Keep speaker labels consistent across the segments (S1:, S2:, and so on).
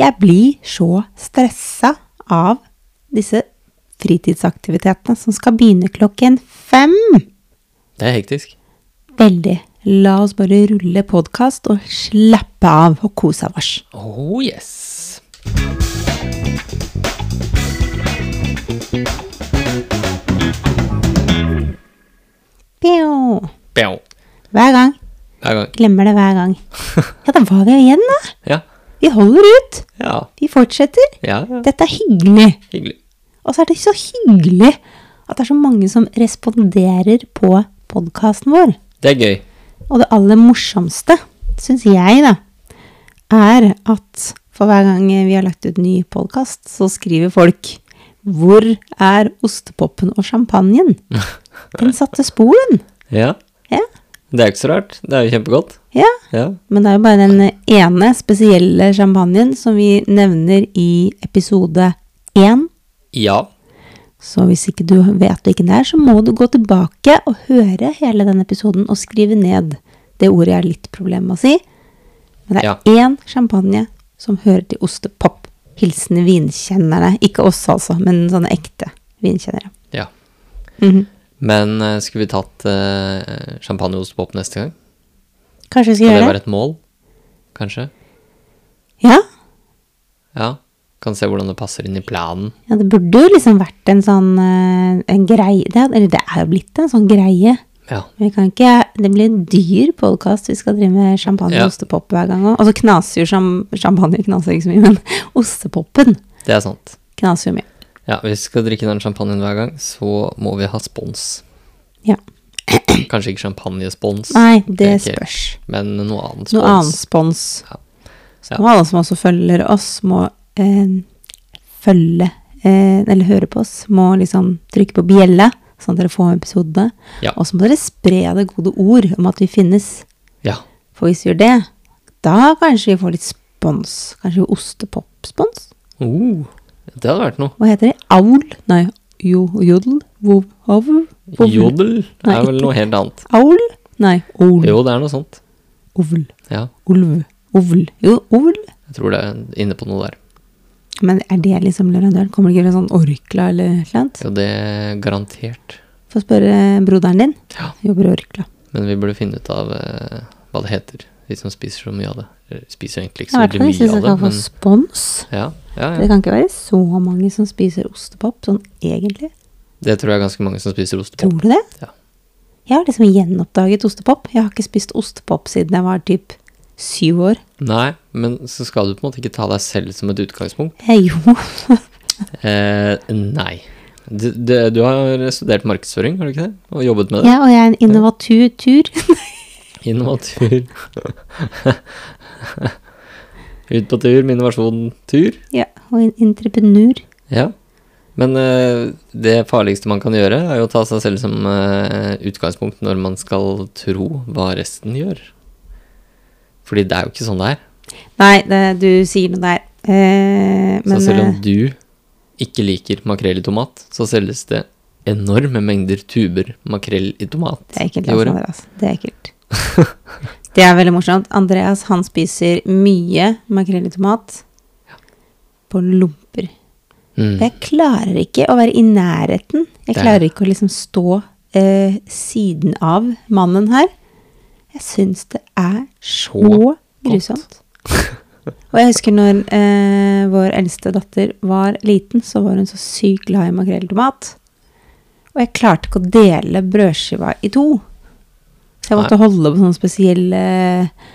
S1: Jeg blir så stressa av disse fritidsaktivitetene som skal begynne klokken fem.
S2: Det er hektisk.
S1: Veldig. La oss bare rulle podkast og slappe av og kose av oss.
S2: Oh yes.
S1: Pjo.
S2: Bjau.
S1: Hver gang.
S2: Hver gang.
S1: Glemmer det hver gang. Ja, da var det jo igjen, da.
S2: Ja.
S1: Vi holder ut.
S2: Ja.
S1: Vi fortsetter.
S2: Ja. ja.
S1: Dette er hyggelig.
S2: Hyggelig.
S1: Og så er det så hyggelig at det er så mange som responderer på podkasten vår.
S2: Det er gøy.
S1: Og det aller morsomste, syns jeg, da, er at for hver gang vi har lagt ut ny podkast, så skriver folk hvor er ostepopen og champagnen? Den satte sporen.
S2: Ja.
S1: Ja.
S2: Det er jo ikke så rart. Det er jo kjempegodt.
S1: ja.
S2: Ja.
S1: Men det er jo bare den ene spesielle champagnen som vi nevner i episode én.
S2: Ja.
S1: Så hvis ikke du vet hvilken det er, så må du gå tilbake og høre hele den episoden og skrive ned det ordet jeg har litt problemer med å si. Men det er
S2: Ja.
S1: én champagne som hører til ostepop. Hilsen vinkjennerne. Ikke oss, altså, men sånne ekte vinkjennere.
S2: ja.
S1: Mhm.
S2: Men eh, skulle vi tatt eh, champagne og ostepop neste gang?
S1: Kanskje vi skal
S2: Kan
S1: gjøre
S2: det
S1: det?
S2: være et mål? Kanskje?
S1: Ja?
S2: Ja. Kan se hvordan det passer inn i planen.
S1: ja, det burde jo liksom vært en sånn eh, en greie det, Eller det er jo blitt en sånn greie.
S2: Ja.
S1: Men Vi kan ikke, det blir en dyr podkast. Vi skal drive med champagne
S2: Ja.
S1: og ostepop hver gang. også. Og så knaser jo sjam- champagne knaser ikke så mye, men ostepopen
S2: Det er sant.
S1: knaser jo mye.
S2: Ja, hvis vi skal drikke den champagnen hver gang, så må vi ha spons.
S1: Ja.
S2: Kanskje ikke champagnespons,
S1: Nei, det
S2: tenker jeg.
S1: spørs.
S2: men noe annet spons.
S1: Noe annen spons.
S2: Ja.
S1: Så må alle som også følger oss, må eh, følge eh, Eller høre på oss. Må liksom trykke på bjella, sånn at dere får episodene.
S2: Ja.
S1: Og så må dere spre det gode ord om at vi finnes.
S2: Ja.
S1: For hvis vi gjør det, da kanskje vi får litt spons. Kanskje ostepop-spons? Oh.
S2: Uh, det hadde vært noe.
S1: Hva heter det? Aul? Nei, jo, jodel? Vov, aul? Vov-
S2: Jodel
S1: Nei,
S2: er vel
S1: ikke-
S2: noe helt annet.
S1: Aul? Nei, oul.
S2: Jo, det er noe sånt.
S1: Ovl.
S2: Ja,
S1: Olv. Ovl. Jo, ovl.
S2: jeg tror det er inne på noe der.
S1: Men er det liksom leverandøren? Kommer det ikke fra sånn Orkla eller et eller annet?
S2: Jo, det er garantert.
S1: Få spørre broderen din.
S2: Ja.
S1: Jobber i Orkla.
S2: Men vi burde finne ut av eh, hva det heter, de som spiser så mye av det. Eller, Spiser egentlig ikke
S1: I
S2: så
S1: hvert
S2: veldig
S1: fall hvis vi
S2: mye av
S1: skal
S2: det,
S1: få
S2: men
S1: spons.
S2: ja, ja,
S1: Det
S2: ja.
S1: kan ikke være så mange som spiser ostepop, sånn egentlig.
S2: Det tror jeg er ganske mange som spiser ostepop.
S1: Tror du det?
S2: Ja.
S1: Jeg har liksom gjenoppdaget ostepop. Jeg har ikke spist ostepop siden jeg var typ syv år.
S2: Nei, men så skal du på en måte ikke ta deg selv som et utgangspunkt.
S1: Eh, jo.
S2: Eh, nei. Du, du, du har studert markedsføring, har du ikke det? Og jobbet med det?
S1: Ja, og jeg er en innovatur.
S2: Innovatur. Ut på tur med innovasjon tur.
S1: Ja, og en entreprenør.
S2: Ja. Men eh, det farligste man kan gjøre, er jo å ta seg selv som eh, utgangspunkt når man skal tro hva resten gjør. Fordi det er jo ikke sånn det er.
S1: Nei, det, du sier noe der. Eh,
S2: Så
S1: men
S2: selv om
S1: eh,
S2: du ikke liker makrell i tomat, så selges det enorme mengder tuber makrell i tomat.
S1: det er ekkelt.
S2: i året.
S1: Altså, altså. Det er ekkelt. det er veldig morsomt. Andreas han spiser mye makrell i tomat på lomper.
S2: Mm.
S1: Jeg klarer ikke å være i nærheten. Jeg
S2: Det er-
S1: klarer ikke å liksom stå eh, siden av mannen her. Jeg syns det er så
S2: Så
S1: grusomt. Og jeg husker når eh, vår eldste datter var liten, så var hun så sykt glad i makrell i tomat. Og jeg klarte ikke å dele brødskiva i to. Så jeg måtte holde på sånne spesielle eh,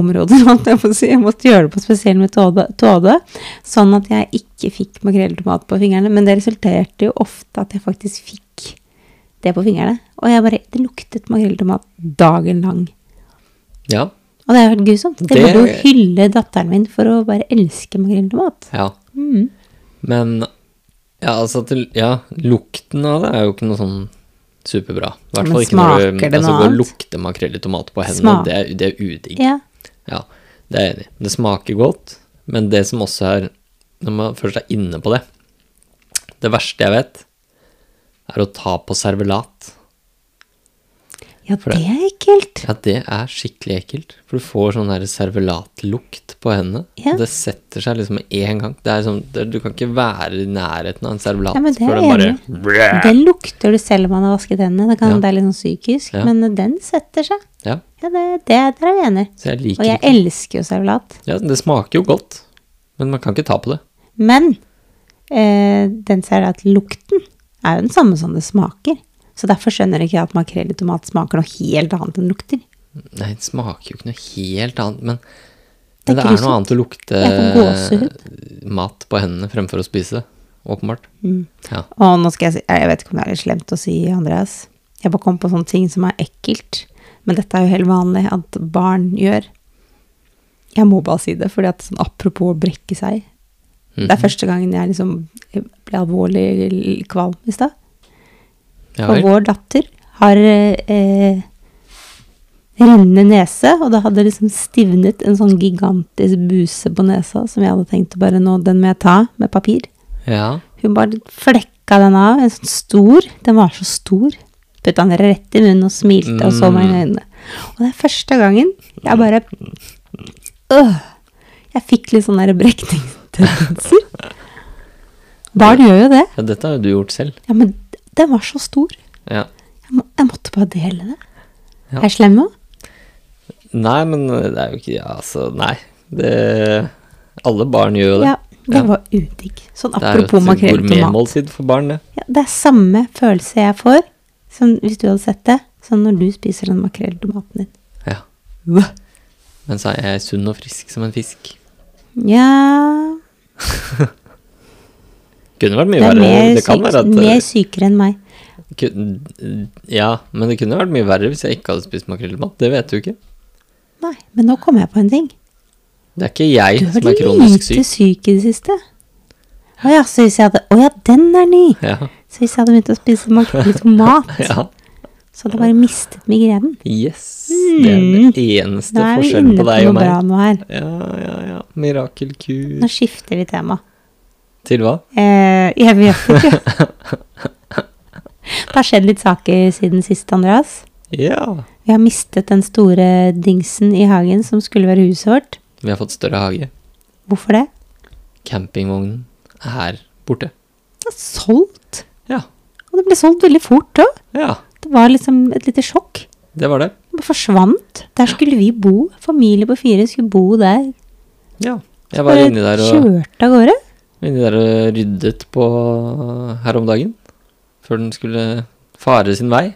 S1: områder, holdt jeg på å si. Jeg måtte gjøre det på spesiell metode, metode, sånn at jeg ikke fikk makrell i tomat på fingrene. Men det resulterte jo ofte at jeg faktisk fikk det på fingrene. Og jeg bare, det luktet makrell i tomat dagen lang.
S2: Ja,
S1: Og det har vært grusomt. Det
S2: Det-
S1: burde jo hylle datteren min for å bare elske makrell i tomat.
S2: ja.
S1: Mm.
S2: Men ja, altså til, ja, lukten av det er jo ikke noe sånn superbra. I hvert
S1: Men
S2: fall ikke når du
S1: smaker det noe
S2: altså, går og
S1: annet?
S2: lukter makrell i tomat på hendene.
S1: Smak-
S2: Det er, det er udigg. Ja.
S1: Ja.
S2: det er jeg enig i. Det smaker godt, men det som også er Når man først er inne på det Det verste jeg vet, er å ta på servelat.
S1: Ja,
S2: For det-
S1: det er ekkelt.
S2: Ja, det er skikkelig ekkelt. For du får sånn her servelatlukt på hendene.
S1: Ja.
S2: og Det setter seg liksom med en gang. Det er sånn, det, du kan ikke være i nærheten av en servelat
S1: Ja, men det er
S2: før
S1: jeg
S2: den
S1: enig
S2: bare
S1: Den lukter du selv om man har vasket hendene. Det, kan,
S2: Ja.
S1: det er litt sånn psykisk,
S2: Ja.
S1: men den setter seg.
S2: Ja,
S1: Ja, det, det der er vi enig.
S2: så jeg
S1: Og
S2: liker
S1: jeg
S2: ikke
S1: elsker jo servelat.
S2: ja, Det smaker jo godt, men man kan ikke ta på det.
S1: Men eh, den servelatlukten er jo den samme som det smaker. Så derfor skjønner ikke jeg at makrell i tomat smaker noe helt annet enn lukter.
S2: Nei, det smaker jo ikke noe helt annet, men
S1: Det er
S2: men det er
S1: grusomt.
S2: noe annet å lukte
S1: Jeg
S2: mat på hendene fremfor å spise det. Åpenbart. Ja.
S1: Og nå skal jeg si, jeg vet ikke om det er litt slemt å si, Andreas. Jeg bare kom på sånne ting som er ekkelt. Men dette er jo helt vanlig at barn gjør. Jeg må bare si det, fordi at sånn apropos å brekke seg. Det
S2: Mhm.
S1: er første gangen jeg liksom ble alvorlig kvalm i stad.
S2: Ja,
S1: Og
S2: vel.
S1: vår datter har eh, eh, rennende nese, og det hadde liksom stivnet en sånn gigantisk buse på nesa som jeg hadde tenkt å bare nå, den må jeg ta med papir.
S2: ja.
S1: Hun bare flekka den av, en sånn stor, den var så stor. Putta den rett i munnen og smilte og så meg i
S2: Mm.
S1: øynene. Og det er første gangen jeg bare øh, Jeg fikk litt sånne der brekningstendenser. Barn gjør jo det.
S2: ja, dette har jo du gjort selv.
S1: Ja, men den var så stor.
S2: Ja.
S1: Jeg, må, jeg måtte bare dele det.
S2: Ja.
S1: Er jeg slem nå?
S2: Nei, men det er jo ikke ja, Altså, nei. Det Alle barn gjør jo det.
S1: Ja, det
S2: Ja.
S1: var udigg. Sånn
S2: det er
S1: apropos
S2: jo et
S1: makrell i tomat.
S2: gourmetmåltid for barn, det.
S1: Ja, det er samme følelse jeg får som hvis du hadde sett det, som når du spiser den makrell i tomaten din.
S2: Ja.
S1: Hva?
S2: Men så er jeg sunn og frisk som en fisk.
S1: Ja
S2: Kunne vært mye
S1: Det er
S2: verre.
S1: mer,
S2: Det kan
S1: syk,
S2: være at eh,
S1: mer sykere enn meg.
S2: kun, mm, Ja, men det kunne vært mye verre hvis jeg ikke hadde spist makrell i mat. Det vet du ikke.
S1: Nei, men nå kom jeg på en ting.
S2: Det er ikke
S1: Du
S2: jeg
S1: har
S2: som er
S1: vært
S2: kronisk
S1: lite
S2: syk.
S1: syk i det siste. Å ja, så hvis jeg hadde Å ja, den er ny!
S2: Ja.
S1: Så hvis jeg hadde begynt å spise makrell i tomat,
S2: ja.
S1: så hadde jeg bare mistet migrenen.
S2: Yes. Det er
S1: Mm.
S2: den eneste
S1: Nå er vi
S2: forskjellen
S1: inne
S2: på
S1: på
S2: deg
S1: noe
S2: og meg.
S1: bra nå her.
S2: Ja, ja, ja. Mirakelkur.
S1: Nå skifter vi tema.
S2: Til hva?
S1: Eh, jeg vet ikke. Det har skjedd litt saker siden sist, Andreas.
S2: Ja.
S1: Vi har mistet den store dingsen i hagen som skulle være huset vårt.
S2: Vi har fått større hage.
S1: Hvorfor det?
S2: Campingvognen er borte.
S1: Det er solgt.
S2: Ja.
S1: Og det ble solgt veldig fort òg.
S2: Ja.
S1: Det var liksom et lite sjokk.
S2: Det var det.
S1: Det bare forsvant. Der skulle vi bo. Familie på fire skulle bo der.
S2: Ja. Jeg var inni der og
S1: Kjørte av gårde.
S2: Inni der og ryddet på her om dagen, før den skulle fare sin vei.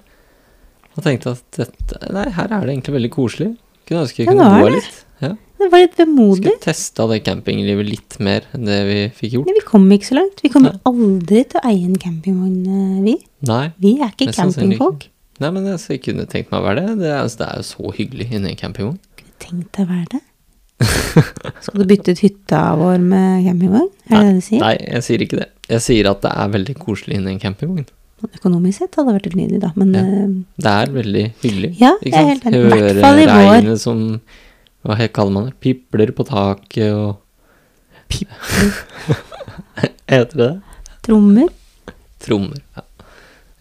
S2: Og tenkte at dette, nei, her er det egentlig veldig koselig. Kunne ønske jeg
S1: Ja,
S2: kunne
S1: det er
S2: gå her
S1: det.
S2: litt. Ja.
S1: Det var litt vemodig.
S2: Skulle testa det campinglivet litt mer enn det vi fikk gjort.
S1: Men vi kom ikke så langt. Vi kommer aldri til å eie en campingvogn, eh, vi.
S2: Nei,
S1: Vi er ikke
S2: mest sannsynlig
S1: campingfolk.
S2: Nei, men altså, jeg kunne tenkt meg å være det. Det er, altså, det er jo så hyggelig inni en campingvogn.
S1: Tenk deg å være det. Skal du bytte ut hytta vår med campingvogn? Er det det du sier?
S2: Nei, jeg sier ikke det. Jeg sier at det er veldig koselig inni en campingvogn.
S1: Økonomisk sett hadde det vært helt nydelig, da. Men
S2: Ja.
S1: eh,
S2: Det er veldig hyggelig.
S1: Ja, jeg er helt enig. I hvert fall i vår.
S2: regnet som Hva he- kaller man det? Pipler på taket og Heter det det?
S1: eh, trommer
S2: Trommer.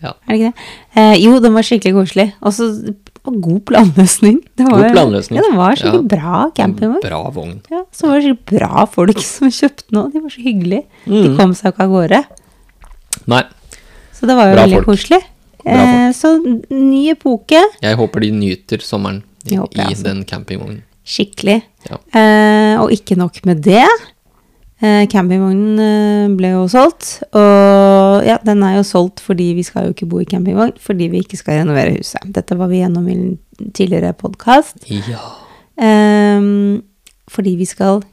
S2: Ja.
S1: Er det ikke det? Eh, jo, den var skikkelig koselig. Og så og god planløsning. Det var,
S2: God planløsning.
S1: Ja, det var skikkelig bra campingvogn.
S2: Bra vogn.
S1: Ja, så var det skikkelig bra folk som kjøpte den òg. De var så hyggelige. De
S2: Mm.
S1: kom seg jo ikke av gårde.
S2: Nei,
S1: Så det var jo
S2: Bra
S1: veldig
S2: folk.
S1: koselig.
S2: Bra folk.
S1: Eh, så n- ny epoke.
S2: jeg håper de nyter sommeren i,
S1: Jeg håper det,
S2: i
S1: altså.
S2: den campingvognen.
S1: Skikkelig.
S2: Ja.
S1: Eh, og ikke nok med det. Eh, campingvognen eh, ble jo solgt. Og ja, den er jo solgt fordi vi skal jo ikke bo i campingvogn, fordi vi ikke skal renovere huset. Dette var vi gjennom i en tidligere podkast.
S2: Ja.
S1: Ehm, fordi vi skal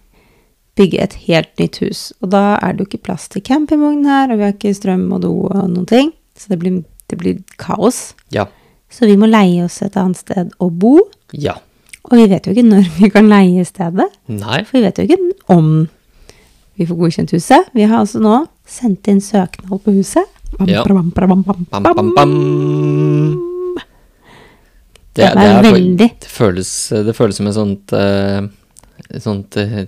S1: bygge et helt nytt hus. Og da er det jo ikke plass til campingvogn her, og vi har ikke strøm og do og noen ting. Så det blir, det blir kaos.
S2: Ja.
S1: Så vi må leie oss et annet sted å bo.
S2: Ja.
S1: Og vi vet jo ikke når vi kan leie stedet,
S2: Nei.
S1: for vi vet jo ikke om vi får godkjent huset. Vi har altså nå sendt inn søknad på huset. Bam,
S2: Ja.
S1: pra, bam, pra, bam, bam,
S2: Bam, bam,
S1: bam.
S2: bam. Det,
S1: Dette er
S2: bare-
S1: veldig-
S2: det, føles, det føles som et sånt, eh, et sånt eh,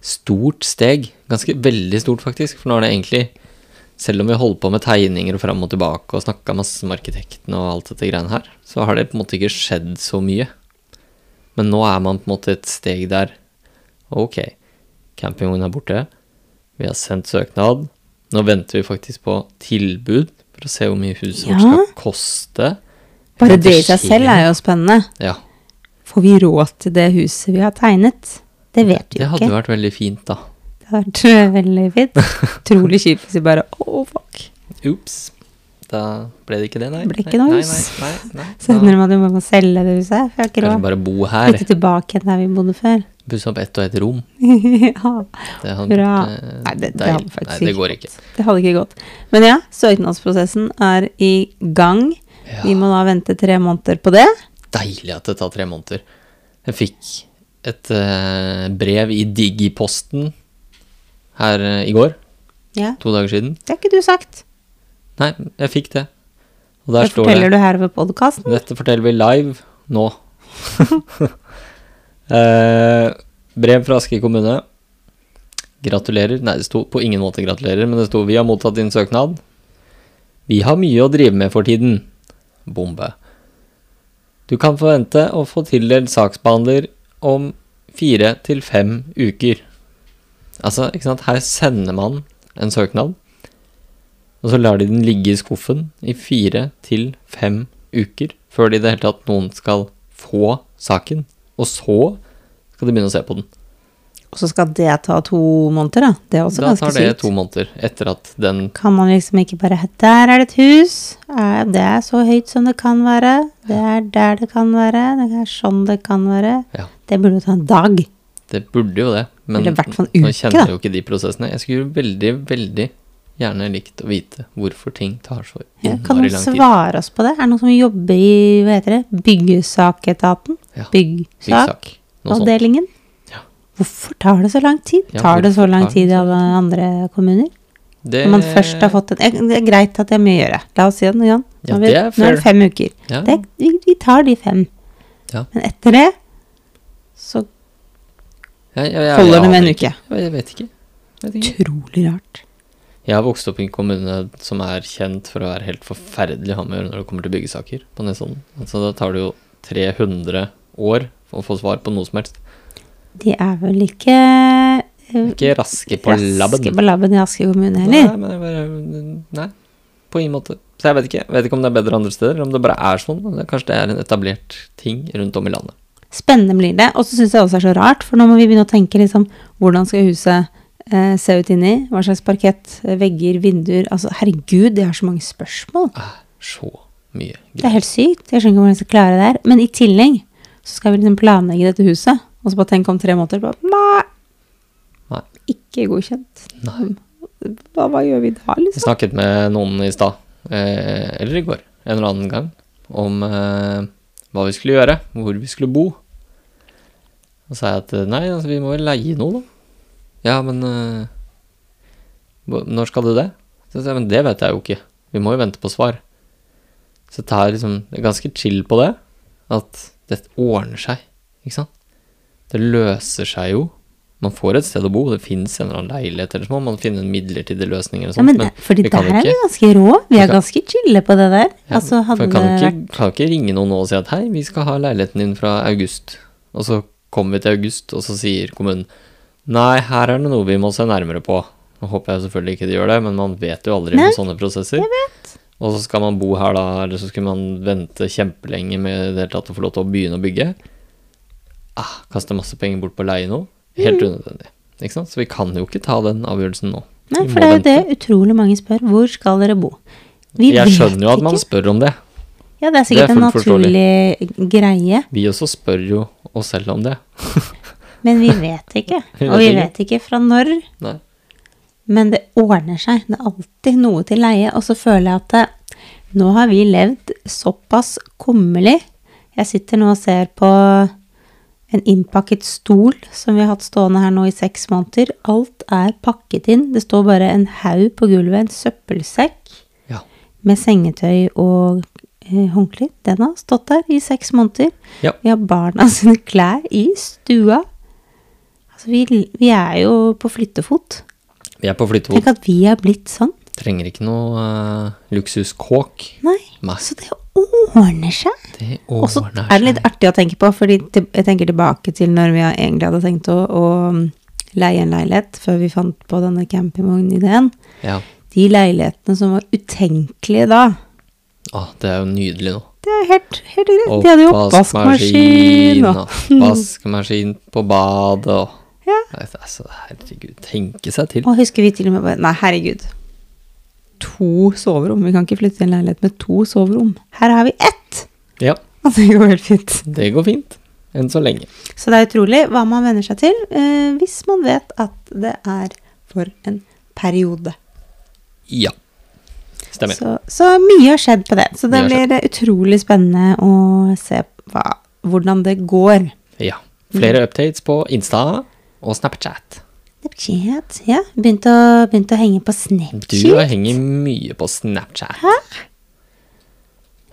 S2: stort steg. Ganske veldig stort, faktisk. For nå er det egentlig Selv om vi holdt på med tegninger og fram og tilbake og snakka masse med arkitekten og alt dette greiene her, så har det på en måte ikke skjedd så mye. Men nå er man på en måte et steg der. Ok, campingvognen er borte. Vi har sendt søknad. Nå venter vi faktisk på tilbud for å se hvor mye huset vårt
S1: Ja.
S2: skal koste.
S1: Bare
S2: Kan
S1: det i
S2: skje?
S1: seg selv er jo spennende.
S2: Ja.
S1: Får vi råd til det huset vi har tegnet? Det vet vi
S2: Det
S1: ikke.
S2: hadde vært veldig fint, da.
S1: Det hadde vært eh, veldig fint. Utrolig kjipt hvis vi bare Å, fuck.
S2: Ops. Da ble det ikke det, nei.
S1: Ble ikke noe
S2: nei, nei,
S1: hus.
S2: nei, nei,
S1: Så
S2: nei.
S1: ender man jo med å selge det huset. For jeg har ikke
S2: Da, kanskje
S1: råd.
S2: bare bo her.
S1: Flytte tilbake igjen der vi bodde før.
S2: Pusse opp ett og ett rom.
S1: ja.
S2: Det hadde
S1: Hurra.
S2: vært, eh,
S1: Nei, det, det
S2: deilig.
S1: hadde faktisk
S2: Nei, det går ikke.
S1: gått. Det hadde ikke gått. Men ja, søknadsprosessen er i gang.
S2: Ja.
S1: Vi må da vente tre måneder på det.
S2: deilig at det tar tre måneder. Jeg fikk et eh, brev i Digiposten her eh, i går,
S1: Ja.
S2: to dager siden.
S1: Det har ikke du sagt.
S2: Nei, jeg fikk det. Og der
S1: Det
S2: står
S1: forteller
S2: det
S1: du her ved podkasten.
S2: Dette forteller vi live nå. Eh, brev fra Aske kommune. Gratulerer. Nei, det sto på ingen måte gratulerer, men det sto 'Vi har mottatt din søknad'. Vi har mye å drive med for tiden. Bombe. Du kan forvente å få tildelt saksbehandler om fire til fem uker. Altså, ikke sant, her sender man en søknad, og så lar de den ligge i skuffen i fire til fem uker før det i det hele tatt noen skal få saken, og så skal de begynne å se på den.
S1: Og så skal det ta to måneder, da. Det er også
S2: Da
S1: ganske
S2: tar det
S1: sykt.
S2: to måneder etter at den
S1: Kan man liksom ikke bare Der er det et hus. Eh, Det er så høyt som det kan være. Det er der det kan være. Det er sånn det kan være.
S2: Ja.
S1: Det burde jo ta en dag.
S2: Det burde jo det, men
S1: Eller i hvert fall en
S2: nå
S1: uke,
S2: kjenner
S1: da.
S2: jeg jo ikke de prosessene. Jeg skulle jo veldig, veldig gjerne likt å vite hvorfor ting tar så
S1: Ja, Kan
S2: innmari
S1: noen
S2: lang tid.
S1: svare oss på det? Er det noen som jobber i hva heter det? byggesaketaten?
S2: Ja,
S1: Byggsak.
S2: Byggsak. Noe sånt.
S1: avdelingen?
S2: Ja.
S1: Hvorfor tar det så lang tid?
S2: Ja,
S1: tar det så
S2: hvorfor
S1: lang
S2: tar det
S1: tid i
S2: så
S1: alle andre kommuner?
S2: Det,
S1: Når man først har fått en eh, Det er greit at det er mye å gjøre. La oss si det, Jan. Nå,
S2: Ja,
S1: har vi,
S2: det er
S1: nå er
S2: fair.
S1: det fem uker.
S2: ja,
S1: Det, vi, vi tar de fem.
S2: Ja.
S1: Men etter det så
S2: jeg- jeg- jeg-
S1: holder det med en
S2: jeg
S1: uke.
S2: aner ikke. Jeg vet ikke. Jeg vet ikke.
S1: Utrolig rart.
S2: Jeg har vokst opp i en kommune som er kjent for å være helt forferdelig å ha med å gjøre når det kommer til byggesaker på Nesodden. Altså, da tar det jo 300 år for å få svar på noe som helst.
S1: De er vel ikke eh,
S2: Ikke Mm. raske på labben.
S1: raske på labben i Aske kommune heller.
S2: Nei, men jeg bare, nei, på ingen måte. Så jeg vet ikke. Jeg vet ikke om det er bedre andre steder, eller om det bare er sånn. men det- Kanskje det er en etablert ting rundt om i landet.
S1: Spennende blir det. Og så syns jeg også det er så rart, for nå må vi begynne å tenke liksom hvordan skal huset eh, se ut inni? Hva slags parkett, eh, vegger, vinduer Altså herregud, jeg har så mange spørsmål.
S2: Det er Ah, så mye
S1: Det er helt sykt. Jeg skjønner ikke hvordan jeg skal klare det her. Men i tillegg så skal vi liksom planlegge dette huset, og så bare tenke om tre måneder på Nei!
S2: Nei.
S1: Ikke godkjent.
S2: Nei.
S1: Hva, hva gjør vi da,
S2: Jeg
S1: liksom?
S2: snakket med noen i stad, eh, eller i går, en eller annen gang, om eh, hva vi skulle gjøre, hvor vi skulle bo. Og så sa jeg at eh, nei, altså, vi må jo leie noe, da. Ja, men eh, hva- når skal du det? Så sa jeg, men det vet jeg jo ikke. Vi må jo vente på svar. Så jeg tar liksom jeg er ganske chill på det, at det ordner seg, ikke sant? Det løser seg jo. Man får et sted å bo, det fins en eller annen leilighet, eller så må man finne en midlertidig løsning eller
S1: Ja,
S2: sånt.
S1: men, fordi
S2: Sånn vi
S1: der
S2: kan jo
S1: er vi
S2: ikke-
S1: ganske rå. Vi er
S2: kan-
S1: ganske chille på det der.
S2: ja,
S1: altså,
S2: for
S1: hadde
S2: jeg
S1: det
S2: kan jo
S1: vært
S2: ikke, kan jo ikke ringe noen nå og si at hei, vi skal ha leiligheten din fra august. Og så kommer vi til august, og så sier kommunen nei, her er det noe vi må se nærmere på. Nå håper jeg selvfølgelig ikke de gjør det, men man vet jo aldri
S1: Nei,
S2: med sånne prosesser. Og så skal man bo her da, eller så skulle man vente kjempelenge med i det hele tatt å få lov til å begynne å bygge. Ah, kaste masse penger bort på å leie noe. Helt
S1: Mm.
S2: unødvendig. Ikke sant? Så vi kan jo ikke ta den avgjørelsen nå.
S1: Nei,
S2: Vi
S1: for det
S2: må
S1: er jo
S2: vente.
S1: det utrolig mange spør. Hvor skal dere bo? Vi
S2: Jeg
S1: vet
S2: skjønner jo at man
S1: ikke.
S2: spør om det.
S1: Ja, det er sikkert
S2: Det er
S1: en
S2: fullt forståelig.
S1: naturlig greie,
S2: Vi også spør jo oss selv om det.
S1: men vi vet ikke.
S2: Vi
S1: Og vi
S2: vet ikke.
S1: vet ikke fra når,
S2: Nei.
S1: men det ordner seg. Det er alltid noe til leie, og så føler jeg at det, nå har vi levd såpass kummerlig. Jeg sitter nå og ser på en innpakket stol som vi har hatt stående her nå i seks måneder. Alt er pakket inn. Det står bare en haug på gulvet, en søppelsekk.
S2: Ja.
S1: med sengetøy og eh, håndklær. Den har stått der i seks måneder.
S2: Ja.
S1: Vi har barna sine klær i stua. Altså, vi, vi er jo på flyttefot.
S2: Vi er på flyttefot.
S1: Tenk at vi er blitt sånn.
S2: Trenger ikke noe eh, luksuskåk.
S1: Nei.
S2: Nei,
S1: Så det ordner seg.
S2: det
S1: Og så
S2: ordner
S1: er det litt artig å tenke på, fordi til- jeg tenker tilbake til når vi egentlig hadde tenkt å, å leie en leilighet før vi fant på denne campingvognideen.
S2: seg. Ja.
S1: De leilighetene som var utenkelige da,
S2: Ah, det er jo nydelig nå.
S1: det er jo helt, helt greit. De hadde jo oppvaskmaskin og
S2: Vaskemaskin på badet og
S1: Ja.
S2: Nei, Altså, herregud, tenke seg til.
S1: Og husker vi til og med bare Nei, herregud. To soverom. Vi kan ikke flytte i en leilighet med to soverom. Her har vi ett!
S2: Ja,
S1: Og det går helt fint.
S2: det går fint. Enn så lenge.
S1: Så det er utrolig hva man venner seg til eh, hvis man vet at det er for en periode.
S2: Ja. Stemmer.
S1: Så, så mye har skjedd på det. Så det
S2: Mye har
S1: blir eh, utrolig spennende å se hva, hvordan det går.
S2: Ja.
S1: Mm.
S2: Flere updates på Insta og Snapchat.
S1: Snapchat, ja. Begynte å, begynte å henge på Snapchat.
S2: Du henger mye på Snapchat. Ja.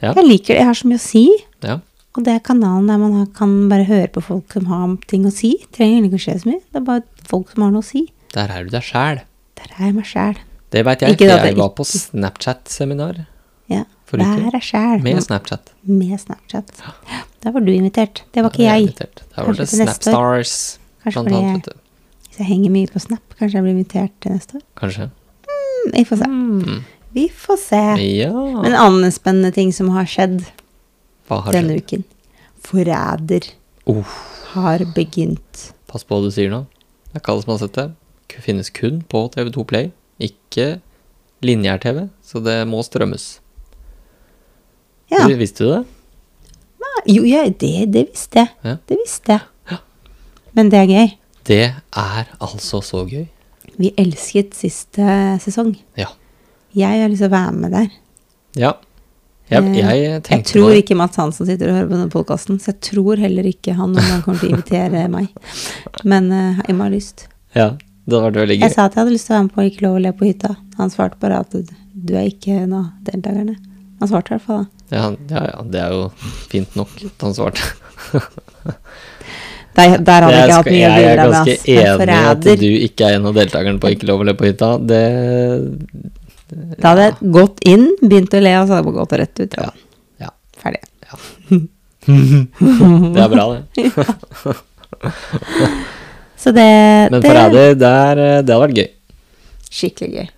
S1: Jeg liker det. Jeg har så mye å si.
S2: ja.
S1: Og det er kanalen der man har- kan bare høre på folk som har ting å si. Trenger egentlig ikke å skje så mye. Det er bare folk som har noe å si.
S2: Der er du deg sjæl.
S1: Der er jeg meg sjæl.
S2: Det veit jeg,
S1: Ikke
S2: for
S1: at
S2: jeg
S1: jeg
S2: var på Snapchat-seminar
S1: Ja.
S2: For ikke-
S1: Der er sjæl.
S2: med
S1: Med,
S2: Snapchat.
S1: med Snapchat. Der var du invitert. Det var ikke
S2: Da er
S1: jeg.
S2: invitert. Der var
S1: Kanskje
S2: det
S1: til neste år.
S2: Snapstars,
S1: Kanskje
S2: blant
S1: fordi
S2: annet.
S1: jeg-
S2: vet du.
S1: Hvis jeg henger mye på Snap, kanskje jeg blir invitert til neste år.
S2: Kanskje.
S1: Mm, Vi får se.
S2: Hmm.
S1: Vi får se. Men
S2: Ja.
S1: en annen spennende ting som har skjedd
S2: Hva har
S1: denne
S2: skjedd?
S1: uken. Forræder
S2: Uh,
S1: har begynt.
S2: pass på hva du sier nå. Det er ikke alle som har sett det. Det finnes kun på TV2 Play. Ikke lineær-TV, så det må strømmes.
S1: Ja.
S2: Du, visste du det?
S1: Jo, ja, det, det visste
S2: Ja.
S1: jeg. Det visste
S2: Ja.
S1: jeg. Men det er gøy.
S2: Det er altså så gøy.
S1: Vi elsket siste sesong.
S2: Ja.
S1: Jeg har lyst til å være med der.
S2: Ja. Jeg,
S1: Eh,
S2: jeg
S1: Jeg
S2: tenkte på
S1: tror
S2: det.
S1: ikke Mads Hansen sitter og hører på denne podkasten, så jeg tror heller ikke han noen gang kommer til å invitere meg. Men eh, jeg må ha lyst.
S2: Ja, det hadde vært veldig gøy.
S1: Jeg sa at jeg hadde lyst til å være med på Ikke lov å le på hytta. Han svarte bare at du er ikke en av deltakerne. Han svarte i hvert fall da.
S2: Ja, ja, ja, det er jo fint nok at han svarte.
S1: Der, der hadde jeg ikke hatt
S2: skal-
S1: mye å
S2: jeg er
S1: bidra med,
S2: ganske
S1: ass. Jeg er
S2: enig i at
S1: forræder.
S2: du ikke er en av deltakerne på Ikke lov å le på hytta. Det
S1: Da hadde jeg gått inn, begynt å le, og så hadde jeg gått rett ut.
S2: Ja. Ja.
S1: Ferdig.
S2: Det er bra, det.
S1: Så det,
S2: Men
S1: det
S2: forræder, det, er, eh, det hadde vært gøy.
S1: Skikkelig gøy.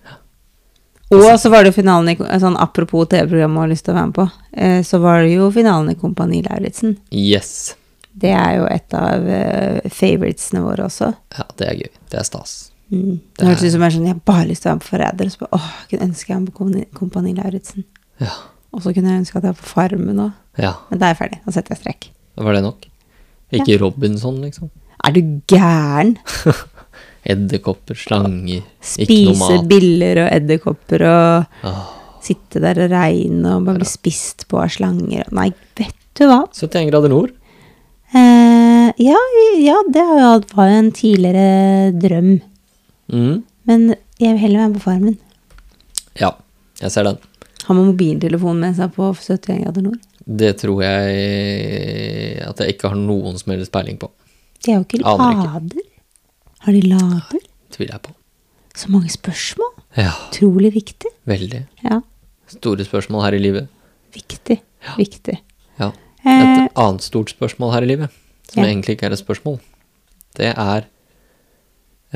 S1: Og så var det jo finalen i sånn Apropos TV-programmet og lyst til å være med på, eh, så var det jo finalen i Kompani Lauritzen.
S2: Yes.
S1: Det er jo et av eh, favoritesene våre også.
S2: Ja, det er gøy. Det er stas.
S1: Mm.
S2: Det
S1: Det hørtes
S2: er-
S1: ut som jeg er sånn, jeg har bare lyst til å være med på Forræder. Og så bare, åh, jeg kunne ønske jeg var med på Kompani- Kompani Lauritzen.
S2: Ja.
S1: Og så kunne jeg ønske at jeg var på Farmen òg.
S2: ja.
S1: Men da er jeg ferdig. Da setter jeg strek.
S2: Var det nok? Ikke Robinson, liksom.
S1: Er du gæren?
S2: Edderkopper, slanger, ikke noe
S1: Spise
S2: mat. Ah,
S1: biller og edderkopper og
S2: Åh.
S1: sitte der og regne og bare bli spist på av slanger. Nei, vet du hva?
S2: 71 grader nord.
S1: Eh, ja, ja, det har jo alt- var jo en tidligere drøm.
S2: Mm.
S1: Men jeg vil heller være på Farmen.
S2: Ja, jeg ser den.
S1: Ha med mobiltelefonen med seg på 71 grader nord.
S2: Det tror jeg at jeg ikke har noen som helst peiling på.
S1: De er jo ikke
S2: Aner ikke.
S1: lader. Har de lader?
S2: Tviler jeg på.
S1: Så mange spørsmål.
S2: Ja,
S1: Utrolig viktig.
S2: veldig.
S1: Ja,
S2: Store spørsmål her i livet.
S1: viktig. Viktig.
S2: Ja. Et
S1: Eh,
S2: annet stort spørsmål her i livet, som
S1: Ja.
S2: egentlig ikke er et spørsmål, det er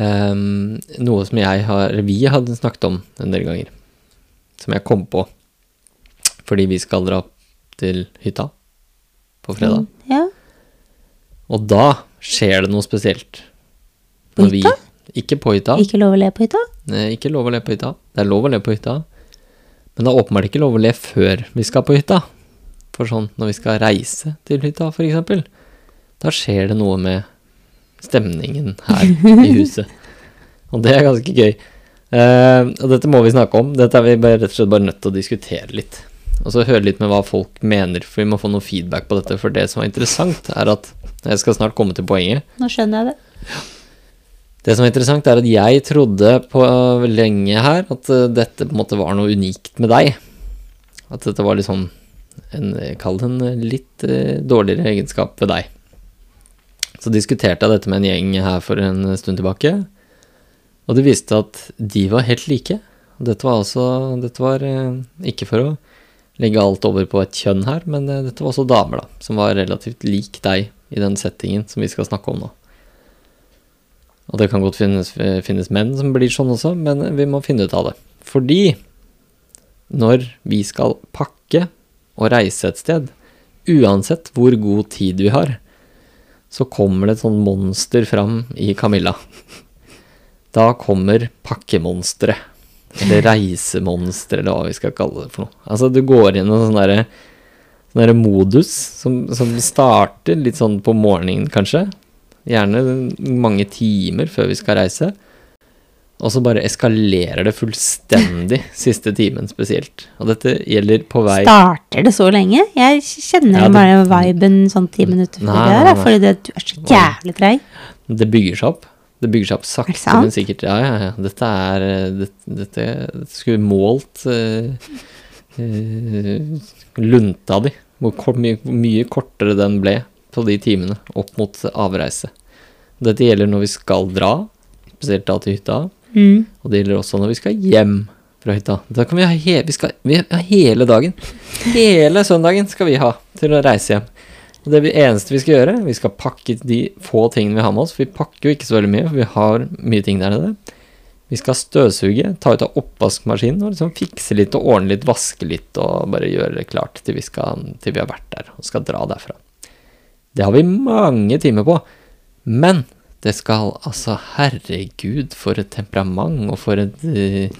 S2: ehm, noe som jeg har, vi hadde snakket om en del ganger, som jeg kom på, fordi vi skal dra til hytta på fredag.
S1: ja.
S2: Og da skjer det noe spesielt.
S1: På
S2: Når vi-
S1: hytta?
S2: Ikke på hytta.
S1: Ikke lov å le på hytta?
S2: Eh, Ikke lov å le på hytta. Det er lov å le på hytta, men det er åpenbart ikke lov å le før vi skal på hytta. For sånn når vi skal reise til hytta, for eksempel, da skjer det noe med stemningen her i huset. Og det er ganske gøy. Eh, og dette må vi snakke om. Dette er vi bare, rett og slett bare nødt til å diskutere litt. Og så høre litt med hva folk mener, for vi må få noe feedback på dette. For det som er interessant, er at Jeg skal snart komme til poenget.
S1: Nå skjønner jeg det.
S2: Det som er interessant, er at jeg trodde på øh, lenge her at øh, dette på en måte var noe unikt med deg. At dette var liksom en, øh, Kall det en øh, litt øh, dårligere egenskap ved deg. Så diskuterte jeg dette med en gjeng her for en stund tilbake, og det viste at de var helt like. Dette var altså Dette var eh, ikke for å legge alt over på et kjønn her, men eh, dette var også damer, da, som var relativt lik deg i den settingen som vi skal snakke om nå. Og det kan godt finnes, finnes menn som blir sånn også, men vi må finne ut av det. Fordi når vi skal pakke og reise et sted, uansett hvor god tid vi har, så kommer det et sånn monster fram i Camilla. Da kommer pakkemonsteret. Eller reisemonsteret, eller hva vi skal kalle det for noe. Altså, du går inn i en sånn derre sånn derre modus som, som starter litt sånn på morgenen, kanskje. Gjerne mange timer før vi skal reise. Og så bare eskalerer det fullstendig siste timen spesielt. Og dette gjelder på vei
S1: Starter det så lenge? Jeg kjenner jo
S2: Ja, det-
S1: bare viben sånn ti minutter før
S2: Nei,
S1: det
S2: nei,
S1: der.
S2: nei.
S1: Fordi det, du er så jævlig treig.
S2: Det bygger seg opp. Det bygger seg opp sakte,
S1: Er det sant?
S2: men sikkert. Ja, ja, ja. Dette er eh, det- Dette, dette skulle målt eh, eh, lunta di. Hvor kort, mye, hvor mye kortere den ble på de timene opp mot avreise. Dette gjelder når vi skal dra, spesielt da til hytta.
S1: Mm.
S2: Og det gjelder også når vi skal hjem fra hytta. Da kan vi ha, he vi skal, vi har hele dagen. Hele søndagen skal vi ha til å reise hjem. Og det er det eneste vi skal gjøre. Vi skal pakke de få tingene vi har med oss. For vi pakker jo ikke så veldig mye, for vi har mye ting der nede. Vi skal støvsuge, ta ut av oppvaskmaskinen og liksom fikse litt og ordne litt, vaske litt og bare gjøre det klart til vi, skal, til vi har vært der og skal dra derfra. Det har vi mange timer på. Men det skal altså Herregud, for et temperament og for et eh,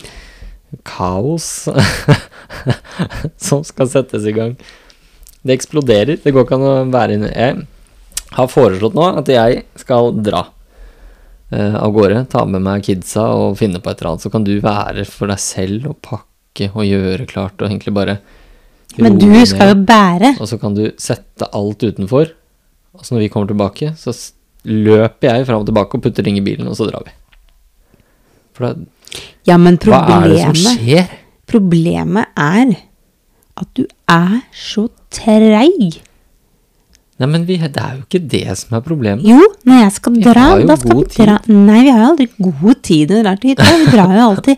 S2: kaos som skal settes i gang. Det eksploderer. Det går ikke an å være inne Jeg har foreslått nå at jeg skal dra eh, av gårde. Ta med meg kidsa og finne på et eller annet. Så kan du være for deg selv og pakke og gjøre klart og egentlig bare
S1: Men
S2: roe
S1: du
S2: ned.
S1: skal jo bære.
S2: Og så kan du sette alt utenfor. Og så når vi kommer tilbake, så s- løper jeg fram og tilbake og putter ting i bilen, og så drar vi. For da,
S1: Ja, men
S2: hva er det som
S1: problemet,
S2: skjer?
S1: problemet er at du er så treig.
S2: Nei, men vi, det er jo ikke det som er problemet.
S1: Jo, når jeg skal
S2: Vi
S1: dra,
S2: har jo
S1: da skal vi
S2: god
S1: dra Nei, vi har jo aldri god tid når vi drar til hytta. Vi drar jo alltid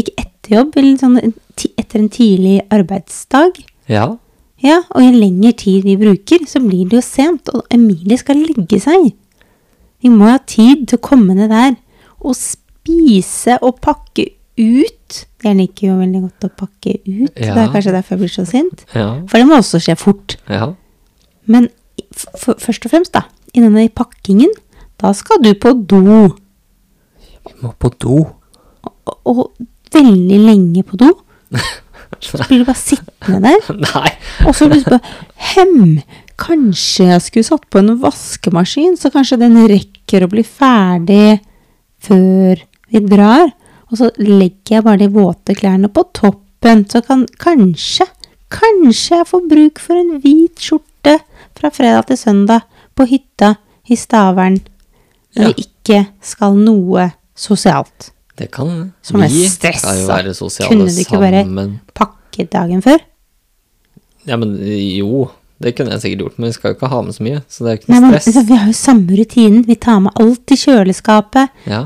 S1: ikke etter jobb, eller sånn en ti- etter en tidlig arbeidsdag.
S2: Ja,
S1: Ja, og jo lengre tid vi bruker, så blir det jo sent, og Emilie skal legge seg. Vi må ha tid til å komme ned der og spise og pakke ut. Jeg liker jo veldig godt å pakke ut,
S2: Ja.
S1: det er kanskje derfor jeg blir så sint.
S2: ja,
S1: For det må også skje fort.
S2: ja.
S1: Men i- f- f- først og fremst, da, i denne pakkingen, da skal du på do.
S2: Vi må på do.
S1: Og, og veldig lenge på do. Så blir du bare sittende der.
S2: Nei,
S1: Og så blir det bare Hem! Kanskje jeg skulle satt på en vaskemaskin, så kanskje den rekker å bli ferdig før vi drar. Og så legger jeg bare de våte klærne på toppen, så kan kanskje Kanskje jeg får bruk for en hvit skjorte fra fredag til søndag på hytta i Stavern, når
S2: Ja.
S1: vi ikke skal noe sosialt.
S2: det kan
S1: Som er
S2: Vi
S1: stressa.
S2: skal jo være sosiale
S1: Kunne du ikke bare-
S2: sammen.
S1: Pakke dagen før.
S2: Ja, men jo, det kunne jeg sikkert gjort, men vi skal jo ikke ha med så mye, så det er jo ikke
S1: Nei,
S2: noe
S1: men, altså,
S2: stress.
S1: vi har jo samme rutinen. Vi tar med alt i kjøleskapet.
S2: Ja,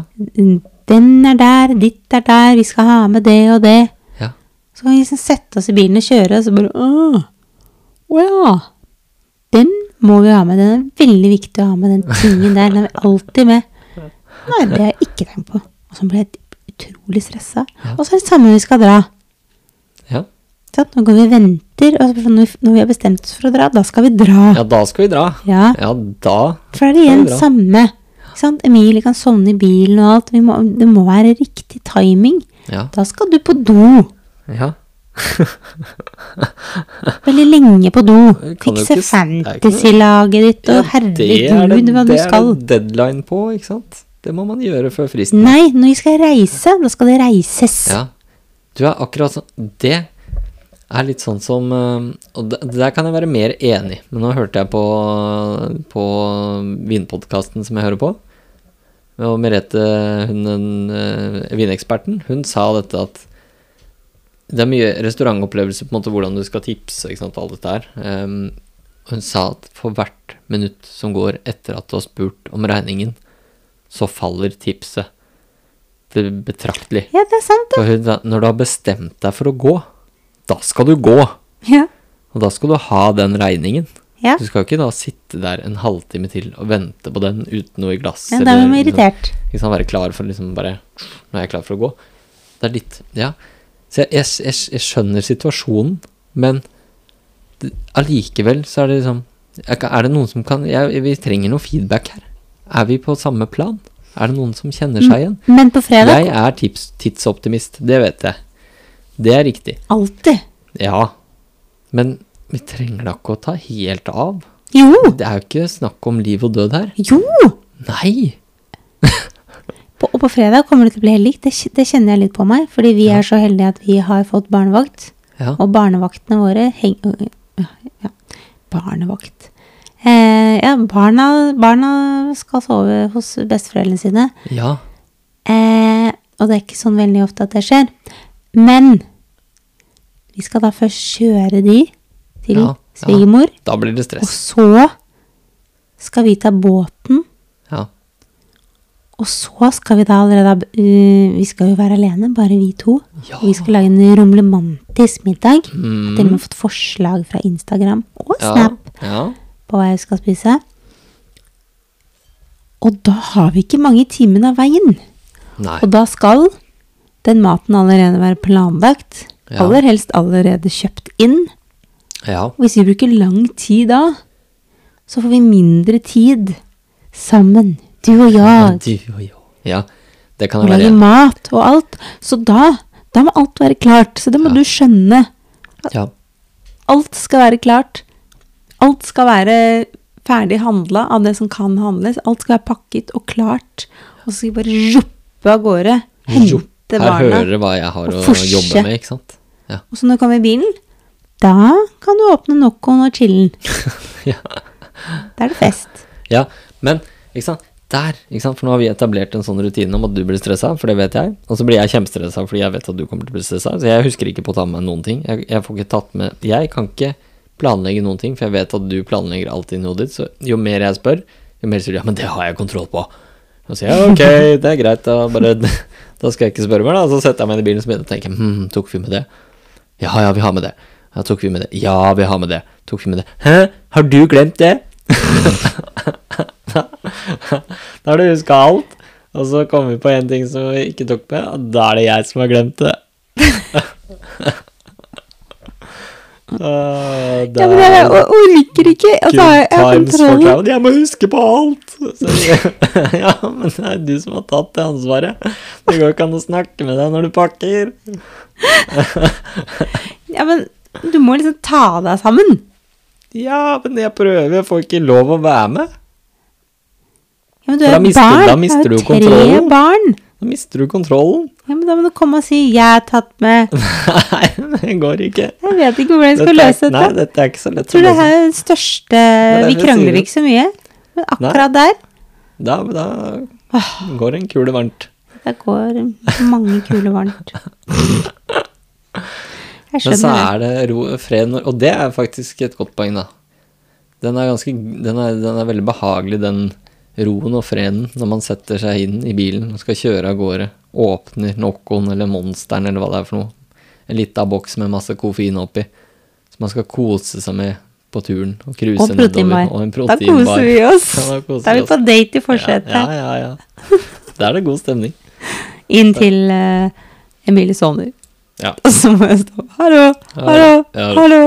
S1: Den er der, ditt er der, vi skal ha med det og det.
S2: ja.
S1: Så kan vi liksom sette oss i bilen og kjøre, og så bare Åh, å ja. Den må vi ha med. Den er veldig viktig å ha med, den tingen der. Den er vi alltid med. Nei, det har jeg ikke tenkt på. Og så blir jeg utrolig stressa.
S2: Ja.
S1: Og så er det samme når vi skal dra.
S2: Ja.
S1: Sant? Nå går vi og venter, og så blir det sånn, når vi- når vi har bestemt oss for å dra, da skal vi dra.
S2: ja, da skal vi dra.
S1: Ja.
S2: Ja, da
S1: For da er det igjen
S2: Det er bra.
S1: samme. Ikke sant? Emilie kan sovne i bilen og alt. Vi må, det må være riktig timing.
S2: Ja.
S1: Da skal du på do.
S2: ja.
S1: Veldig lenge på do.
S2: Det kan jo
S1: Fikse
S2: ikke s- det er ikke noe-
S1: fantasy-laget ditt og
S2: Ja,
S1: herregud hva du
S2: det
S1: skal.
S2: er det deadline på, ikke sant? Det må man gjøre før fristen.
S1: Nei, når vi skal reise, da skal det reises.
S2: Ja. Du er akkurat sånn Det er litt sånn som eh, Og det- det der kan jeg være mer enig i, men nå hørte jeg på, på vinpodkasten som jeg hører på, og Merete, hun den, eh, vineksperten, hun sa dette at det er mye restaurantopplevelser på en måte hvordan du skal tipse ikke sant, og alt dette her. Ehm, hun sa at for hvert minutt som går etter at du har spurt om regningen, så faller tipset. be- betraktelig.
S1: Ja, det er sant,
S2: For hun sa, når du har bestemt deg for å gå, da skal du gå.
S1: det. Ja.
S2: Og da skal du ha den regningen.
S1: ja.
S2: Du skal ikke da sitte der en halvtime til og vente på den uten noe i glass.
S1: ja da er man
S2: eller liksom-
S1: irritert.
S2: Ikke sant, være klar for liksom bare Nå er jeg klar for å gå. Det er ditt. Ja. Så jeg, jeg, jeg, jeg skjønner situasjonen, men det- allikevel så er det liksom jeg kan- Er det noen som kan jeg, Vi trenger noe feedback her. Er vi på samme plan? Er det noen som kjenner
S1: Mm.
S2: seg igjen?
S1: Men på fredag
S2: Jeg er tips, tidsoptimist, det vet jeg. Det er riktig.
S1: Alltid.
S2: Ja. Men vi trenger da ikke å ta helt av.
S1: Jo!
S2: Det er jo ikke snakk om liv og død her.
S1: Jo!
S2: Nei!
S1: På, og på fredag kommer det til å bli helt likt. Det, kj- det kjenner jeg litt på meg. Fordi vi er så heldige at vi har fått barnevakt.
S2: Ja.
S1: Og barnevaktene våre heng... øh, Ja, ja. barnevakt. Eh, ja, barna, barna skal sove hos besteforeldrene sine.
S2: ja.
S1: Eh, og det er ikke sånn veldig ofte at det skjer. Men vi skal da først kjøre de til
S2: Ja, ja.
S1: svigermor.
S2: Da blir det
S1: Og
S2: stress.
S1: så skal vi ta båten.
S2: Ja.
S1: Og så skal vi da allerede ha b- øh, Vi skal jo være alene, bare vi to.
S2: Ja.
S1: Og vi skal lage en romlemantisk middag. Jeg har til og
S2: Mm.
S1: med fått forslag fra Instagram og
S2: Ja,
S1: Snap
S2: Ja.
S1: på hva jeg skal spise. Og da har vi ikke mange timene av veien.
S2: Nei.
S1: Og da skal den maten allerede være planlagt.
S2: Ja.
S1: Aller helst allerede kjøpt inn.
S2: Ja.
S1: Og hvis vi bruker lang tid da, så får vi mindre tid sammen. Du og jeg.
S2: Du og jeg. Ja. Det kan
S1: Og
S2: jeg være
S1: lage
S2: enig
S1: mat og alt. Så da, da må alt være klart. Så det må
S2: Ja.
S1: du skjønne.
S2: Ja.
S1: Alt skal være klart. Alt skal være ferdig handla av det som kan handles. Alt skal være pakket og klart. Og så skal vi bare juppe av gårde.
S2: Jo,
S1: Hente
S2: Her hører
S1: barna.
S2: du hva jeg har
S1: og
S2: å
S1: forse.
S2: jobbe med, ikke sant? Ja.
S1: Og så når du kommer i bilen, da kan du åpne Nocoen og chillen.
S2: Ja.
S1: Da er det fest.
S2: ja. Men, ikke sant? Der, ikke sant? For nå har vi etablert en sånn rutine om at du blir stressa, for det vet jeg. Og så blir jeg kjempestressa fordi jeg vet at du kommer til å bli stressa. Så jeg husker ikke på å ta med meg noen ting. Jeg, jeg får ikke tatt med Jeg kan ikke planlegge noen ting, for jeg vet at du planlegger alt inni hodet ditt. Så jo mer jeg spør, jo mer sier du ja, men det har jeg kontroll på. Og så sier jeg ok, det er greit, da, bare, da skal jeg ikke spørre mer, da. Så setter jeg meg inn i bilen og så begynner jeg å tenke hm, tok vi med det? Ja, ja, vi har med det. Ja, tok vi med det? Ja, vi har med det. Tok vi med det? Hæ, har du glemt det? da har du huska alt, og så kommer vi på en ting som vi ikke tok med, og da er det jeg som har glemt det. Uh,
S1: Ja, men jeg, og, og liker ikke at jeg jeg har kontrollen.
S2: Jeg må huske på alt! ja, men det er du som har tatt det ansvaret. Det går ikke an å snakke med deg når du pakker.
S1: Ja, men du må liksom ta deg sammen.
S2: Ja, men jeg prøver, jeg får ikke lov å være med.
S1: Ja, men du
S2: For
S1: er
S2: da
S1: jo
S2: mister-
S1: barn.
S2: da mister du
S1: jeg har jo tre
S2: kontrollen.
S1: barn.
S2: Da mister du kontrollen.
S1: Ja, men da må du komme og si 'jeg er tatt med'.
S2: Nei, det går ikke.
S1: Jeg vet ikke hvordan jeg skal
S2: Dette er-
S1: løse
S2: Nei,
S1: dette.
S2: dette er ikke så lett
S1: Jeg tror
S2: å
S1: det
S2: løse.
S1: her er den største
S2: er
S1: Vi
S2: det jeg
S1: krangler
S2: sier.
S1: ikke så mye, men akkurat der
S2: Da, da går en kule varmt.
S1: Der går mange kuler varmt. Jeg
S2: Men så
S1: skjønner det.
S2: er det ro, fred når Og det er faktisk et godt poeng, da. Den er, ganske, den, er, den er veldig behagelig, den roen og freden når man setter seg inn i bilen og skal kjøre av gårde. Åpner Nocoen eller Monsteren eller hva det er for noe. En lita boks med masse koffein oppi. Som man skal kose seg med på turen. Og cruise
S1: Og proteinbar.
S2: nedover. Og en
S1: Da
S2: proteinbar.
S1: koser vi oss.
S2: Ja, da koser
S1: Da er
S2: vi
S1: vi
S2: oss.
S1: på date i
S2: Ja,
S1: forsetet.
S2: ja, ja. ja. Da er det god stemning.
S1: Inntil eh, Emilie sovner.
S2: Ja.
S1: Og så må jeg stå Hallo, hallo,
S2: Ja.
S1: hallo.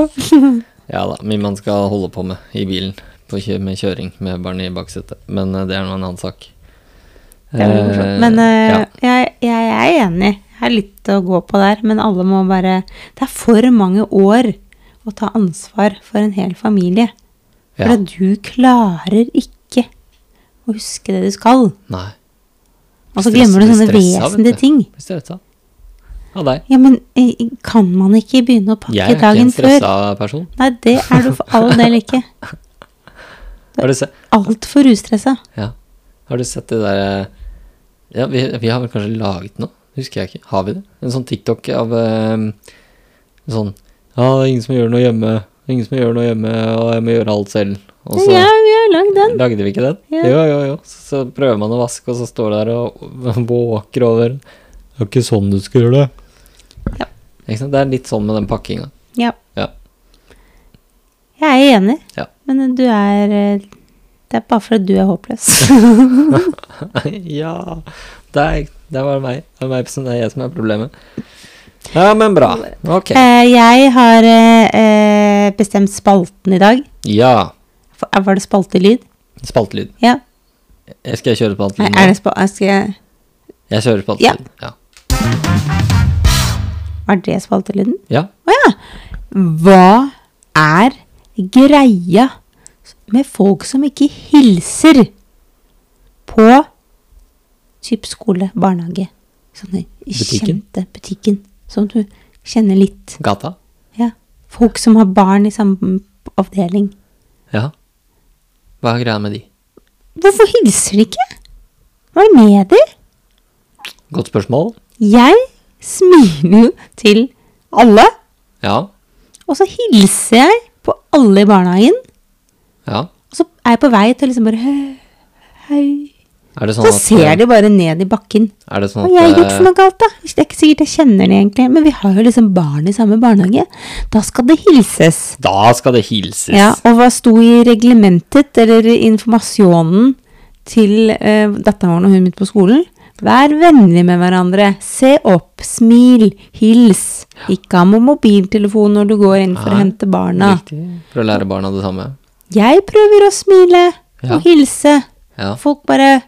S2: Ja da, mye man skal holde på med i bilen på kjø med kjøring med barn i baksetet. Men eh, det er nå en annen sak.
S1: Det er veldig morsomt. Men
S2: Eh,
S1: eh, jeg, jeg er enig. Jeg har litt å gå på der, men alle må bare Det er for mange år å ta ansvar for en hel familie. For
S2: ja, ja,
S1: at du klarer ikke å huske det du skal.
S2: nei.
S1: Og så
S2: Stress-
S1: glemmer du
S2: blir
S1: sånne
S2: stressa, vet
S1: vesentlige
S2: du.
S1: ting.
S2: Blir stressa av deg.
S1: Ja, men eh, kan man ikke begynne å pakke
S2: Jeg er ikke
S1: dagen
S2: en
S1: før?
S2: stressa person.
S1: Nei, det er du for all del ikke.
S2: Har du, se,
S1: Altfor ustressa.
S2: ja. har du sett det der eh, Ja, vi, vi har vel kanskje laget noe? Husker jeg ikke. Har vi det? En sånn TikTok av eh, en sånn Ja, det er ingen som gjør noe hjemme. Ingen som gjør noe hjemme, og jeg må gjøre alt selv. Og så
S1: Ja, ja, lag den.
S2: Lagde vi ikke den?
S1: Ja.
S2: Jo, jo, jo. Så, så prøver man å vaske, og så står det der og våker over. Det er ikke sånn du skal gjøre det.
S1: Ja.
S2: Ikke sant? Det er litt sånn med den pakkinga.
S1: Ja.
S2: Ja.
S1: Jeg er enig,
S2: Ja.
S1: men du er eh, Det er bare fordi du er håpløs.
S2: ja. Det er, det er bare meg. Det er, meg som, det er jeg som er problemet. Ja, men bra. Ok.
S1: Eh, Jeg har eh, eh, bestemt spalten i dag.
S2: Ja.
S1: For- eh, Var det spaltelyd?
S2: Spaltelyd.
S1: Ja.
S2: Jeg skal jeg kjøre
S1: Nei,
S2: spaltelyd
S1: er
S2: nå?
S1: det spal... Skal jeg
S2: Jeg kjører spaltelyd. Ja.
S1: Var det spaltelyden?
S2: Ja.
S1: Å ja. Hva er greia med folk som ikke hilser på typ skole, barnehage? Sånne
S2: Butikken?
S1: kjente butikken. Som du kjenner litt.
S2: Gata.
S1: Ja. Folk som har barn i samme avdeling.
S2: Ja. Hva er greia med de?
S1: Hvorfor hilser de ikke? Hva er det med de?
S2: Godt spørsmål.
S1: Jeg smiler jo til alle,
S2: Ja.
S1: og så hilser jeg på alle i barnehagen.
S2: Ja.
S1: Og så er jeg på vei til å liksom bare «Hø- Hei.
S2: Er det sånn
S1: Så
S2: at
S1: ser de bare ned i bakken.
S2: Er det sånn
S1: Hva
S2: at
S1: har jeg gjort
S2: eh,
S1: for noe galt, da? Det er ikke sikkert jeg kjenner det egentlig, men vi har jo liksom barn i samme barnehage. Da skal det hilses.
S2: Da skal det hilses.
S1: Ja, og hva sto i reglementet, eller i informasjonen til eh, datteren vår og hun midt på skolen? Vær vennlig med hverandre. Se opp, smil, hils. Ikke ha med mobiltelefon når du går inn for å
S2: Nei,
S1: hente barna.
S2: Riktig. For å lære barna det samme.
S1: Jeg prøver å smile
S2: Ja.
S1: og hilse.
S2: Ja.
S1: Folk bare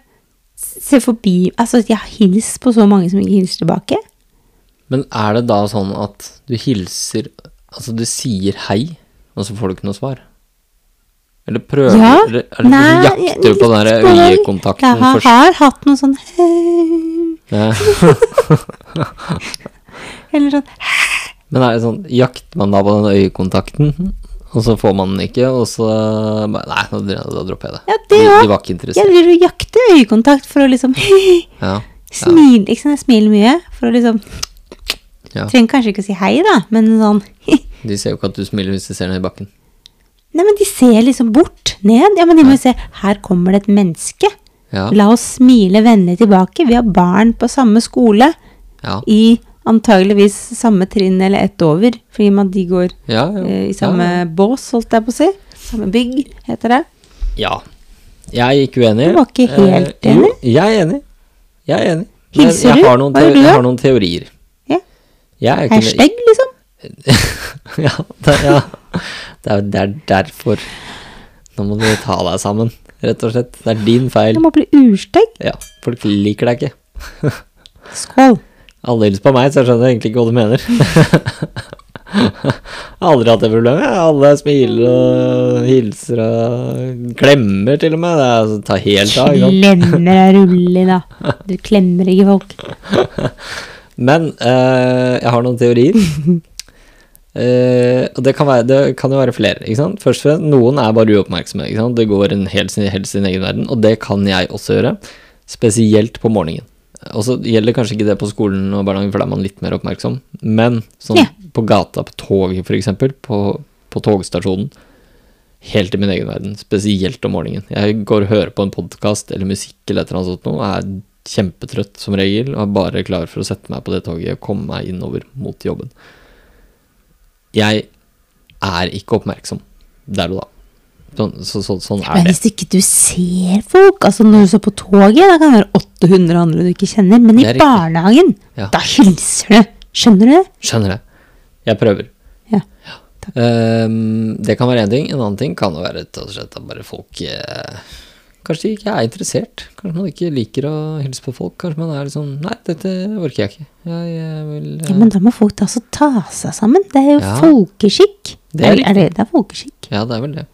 S1: s- ser forbi. Altså, jeg har hilst på så mange som ikke hilser tilbake.
S2: Men er det da sånn at du hilser Altså, du sier hei, og så får du ikke noe svar? Eller prøver
S1: Ja,
S2: eller, eller Nei,
S1: jeg-
S2: jakter du på den
S1: litt
S2: der
S1: det.
S2: øyekontakten
S1: Jeg har,
S2: først?
S1: har hatt sånn noen sånn «Hei»,
S2: Ja.
S1: Eller sånn
S2: Men er det sånn Jakter man da på den øyekontakten, og så får man den ikke, og så bare, Nei, nå dro- da dropper jeg det.
S1: Ja, det
S2: de,
S1: òg.
S2: de var ikke
S1: Jeg
S2: interessert.
S1: driver og jakter øyekontakt for å liksom
S2: Ja.
S1: smile. Ikke sant, jeg smiler mye for å liksom
S2: Ja.
S1: Trenger kanskje ikke å si hei, da, men sånn Nei,
S2: De ser jo ikke at du smiler hvis de ser ned i bakken.
S1: men de ser liksom bort, ned. Ja, men de må jo se Her kommer det et menneske.
S2: Ja.
S1: La oss smile vennlig tilbake. Vi har barn på samme skole
S2: Ja.
S1: i antageligvis samme trinn eller ett over, fordi man de går
S2: Ja, ja.
S1: eh, i
S2: Ja,
S1: samme bås, holdt jeg på å si. Samme bygg, heter det.
S2: Ja. Jeg er ikke uenig.
S1: Du var ikke helt
S2: Eh,
S1: enig?
S2: Jo, jeg er enig. Jeg er enig.
S1: Hilser
S2: jeg,
S1: du?
S2: jeg Har noen
S1: Hva gjør
S2: teo-
S1: du da?
S2: jeg har noen teorier.
S1: Ja.
S2: Jeg er jo ikke
S1: Hashtag, liksom.
S2: ja, det, ja. Det, er, det er derfor. Nå må du ta deg sammen, rett og slett. Det er din feil.
S1: Det må bli ursteg.
S2: Ja, folk liker deg ikke.
S1: Skål.
S2: Alle hilser på meg, så jeg skjønner egentlig ikke hva du mener. Jeg har Aldri hatt det problemet. Alle smiler og hilser og klemmer til og med. Det er, tar helt av. ikke sant?
S1: Klemmer deg rullig, da. Du klemmer ikke folk.
S2: Men eh, jeg har noen teorier. Eh, og det kan, være, det kan jo være flere. ikke sant? Først og fremst, Noen er bare uoppmerksomme. ikke sant? Det går en helt sin, helt sin egen verden, og det kan jeg også gjøre. Spesielt på morgenen. Og så gjelder kanskje ikke det på skolen og barnehagen, for da er man litt mer oppmerksom. Men sånn
S1: Ja.
S2: på gata, på toget f.eks., på, på togstasjonen, helt i min egen verden. Spesielt om morgenen. Jeg går og hører på en podkast eller musikk eller et eller annet sånt noe. Jeg er kjempetrøtt som regel og er bare klar for å sette meg på det toget og komme meg innover mot jobben. Jeg er ikke oppmerksom der og da. Sånn, så, så, sånn
S1: Men
S2: er det.
S1: hvis ikke du ser folk, altså når du står på toget, da kan det være 800 andre du ikke kjenner, men
S2: Det
S1: i
S2: er riktig.
S1: barnehagen,
S2: Ja.
S1: da hilser du. Skjønner du det?
S2: Skjønner det. Jeg prøver.
S1: Ja.
S2: Ehm, det kan være én ting. En annen ting kan jo være rett og slett at bare folk eh, Kanskje de ikke er interessert. Kanskje man ikke liker å hilse på folk. Kanskje man er litt sånn Nei, dette orker jeg ikke. Jeg, eh, vil eh,
S1: Ja, men da må folk da også ta seg sammen. Det er jo
S2: Ja.
S1: folkeskikk.
S2: Det er
S1: er, er det, det er folkeskikk.
S2: Ja, det er vel det.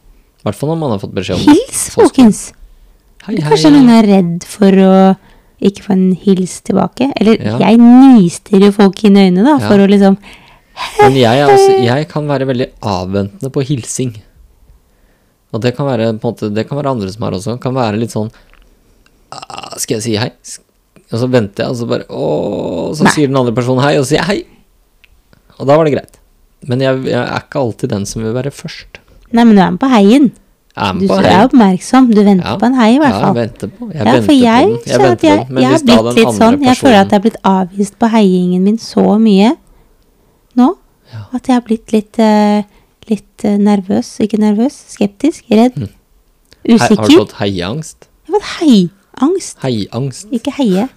S2: I hvert fall når man har fått beskjed om det.
S1: Hils, folkens.
S2: Hei, hei.
S1: Kanskje noen er redd for å ikke få en hils tilbake. Eller
S2: Ja.
S1: jeg nister jo folk inn i øynene, da,
S2: Ja.
S1: for å liksom
S2: Men jeg, er også, jeg kan være veldig avventende på hilsing. Og det kan være, på en måte, det kan være andre som er også. Kan være litt sånn «Ah, Skal jeg si hei? Og så venter jeg, og så bare Ååå. Så
S1: Nei.
S2: sier den andre personen hei, og så sier jeg hei. Og da var det greit. Men jeg, jeg er ikke alltid den som vil være først.
S1: Nei, men du er med på heien. Du,
S2: Er med
S1: du
S2: på hei.
S1: er oppmerksom. Du venter
S2: Ja.
S1: på en hei, i hvert
S2: Ja, jeg
S1: fall.
S2: venter på. Jeg
S1: ja,
S2: venter
S1: for jeg
S2: på den. Jeg
S1: kjenner
S2: venter
S1: at
S2: på
S1: jeg,
S2: den. Men
S1: jeg har
S2: hvis da
S1: blitt
S2: den
S1: litt
S2: andre
S1: sånn Jeg føler
S2: personen-
S1: at jeg har blitt avvist på heiingen min så mye nå
S2: Ja.
S1: at jeg har blitt litt, eh, litt eh, nervøs. Ikke nervøs, skeptisk, redd,
S2: Mm. Hei- Har du
S1: usikker.
S2: fått heiangst?
S1: Jeg har fått heiangst.
S2: Heiangst.
S1: Ikke heie.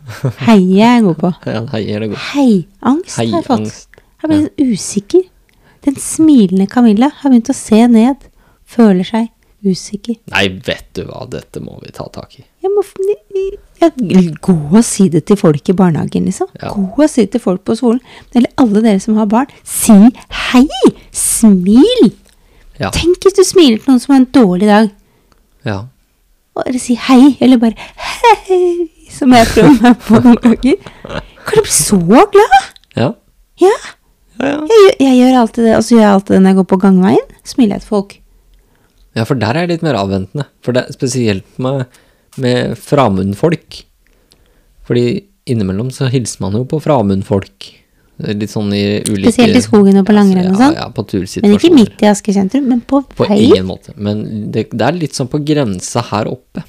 S1: Heie er jeg god på.
S2: Ja, hei er det godt.
S1: Heiangst har jeg fått.
S2: Heiangst.
S1: Jeg ble litt usikker. Den smilende Camilla har begynt å se ned. Føler seg usikker.
S2: Nei, vet du hva, dette må vi ta tak i.
S1: Jeg må f- jeg, Gå og si det til folk i barnehagen, liksom.
S2: Ja.
S1: Gå og si det til folk på skolen. Eller alle dere som har barn. Si hei! Smil!
S2: Ja.
S1: Tenk hvis du smiler til noen som har en dårlig dag.
S2: ja.
S1: Og- Eller si hei, eller bare hei, som jeg prøver meg på noen ganger. Kan du bli så glad?
S2: Ja.
S1: Ja.
S2: Ja, ja.
S1: Jeg, gjør- jeg gjør alltid det. Og så gjør jeg alltid det når jeg går på gangveien. Smiler jeg til folk.
S2: ja, for der er jeg litt mer avventende. For det er spesielt med, med framundfolk. Fordi innimellom så hilser man jo på framundfolk. Litt sånn i ulike
S1: Spesielt i skogen og på langrenn og
S2: Ja,
S1: sånn.
S2: ja, på tursituasjoner.
S1: Men ikke midt i Asker sentrum, men på
S2: På
S1: vei.
S2: ingen måte. Men det, det er litt sånn på grensa her oppe.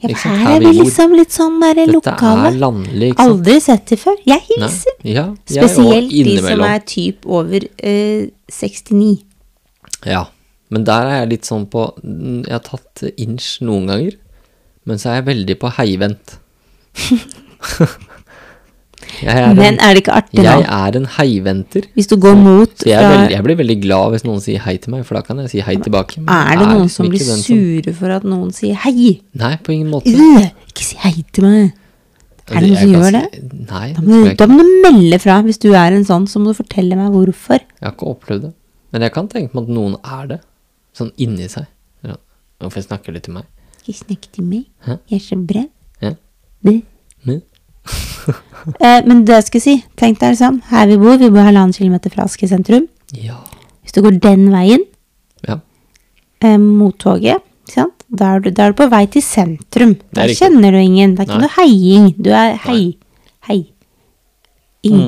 S1: Ja,
S2: Ikke
S1: for
S2: sant?
S1: her er
S2: vi
S1: vi
S2: bor.
S1: liksom litt sånn der
S2: Dette
S1: lokale.
S2: er landlig, ikke sant?
S1: Aldri sett det før. Jeg
S2: Nei.
S1: hilser.
S2: Ja, jeg og
S1: Spesielt de som
S2: innimellom.
S1: er typ over eh, 69.
S2: Ja, men der er jeg litt sånn på Jeg har tatt inch noen ganger, men så er jeg veldig på heivent. jeg, er en,
S1: Men er det ikke artig
S2: jeg
S1: nå?
S2: er en heiventer.
S1: Hvis du går mot
S2: Så jeg,
S1: fra
S2: er veldig, jeg blir veldig glad hvis noen sier hei til meg, for da kan jeg si hei tilbake. men
S1: Er
S2: jeg
S1: det noen
S2: liksom
S1: som blir
S2: ikke den
S1: sure for at noen sier hei?
S2: Nei, på ingen måte. Altså,
S1: Øh, ikke si hei til meg. Er det noen
S2: Jeg
S1: som
S2: kan
S1: gjør det?
S2: si- Nei, det
S1: Da
S2: tror
S1: må,
S2: jeg
S1: da
S2: ikke.
S1: må du melde fra. Hvis du er en sånn, så må du fortelle meg hvorfor.
S2: Jeg har ikke opplevd det. Men jeg kan tenke meg at noen er det. Sånn inni seg. Ja. Hvorfor snakker de til meg?
S1: Ikke snakk til meg.
S2: Hæ?
S1: Jeg er så bred.
S2: Ja.
S1: Det.
S2: Men,
S1: Eh, men det jeg skal si, tenk deg sånn, her vi bor, vi bor halvannen kilometer fra Asker sentrum.
S2: ja.
S1: Hvis du går den veien,
S2: ja.
S1: eh, mot toget, ikke sant? Da er, du, da er du på vei til sentrum.
S2: Det er
S1: Der
S2: riktig.
S1: kjenner du ingen. Det er ikke
S2: Nei.
S1: noe heiing. Du er hei, hei, ing.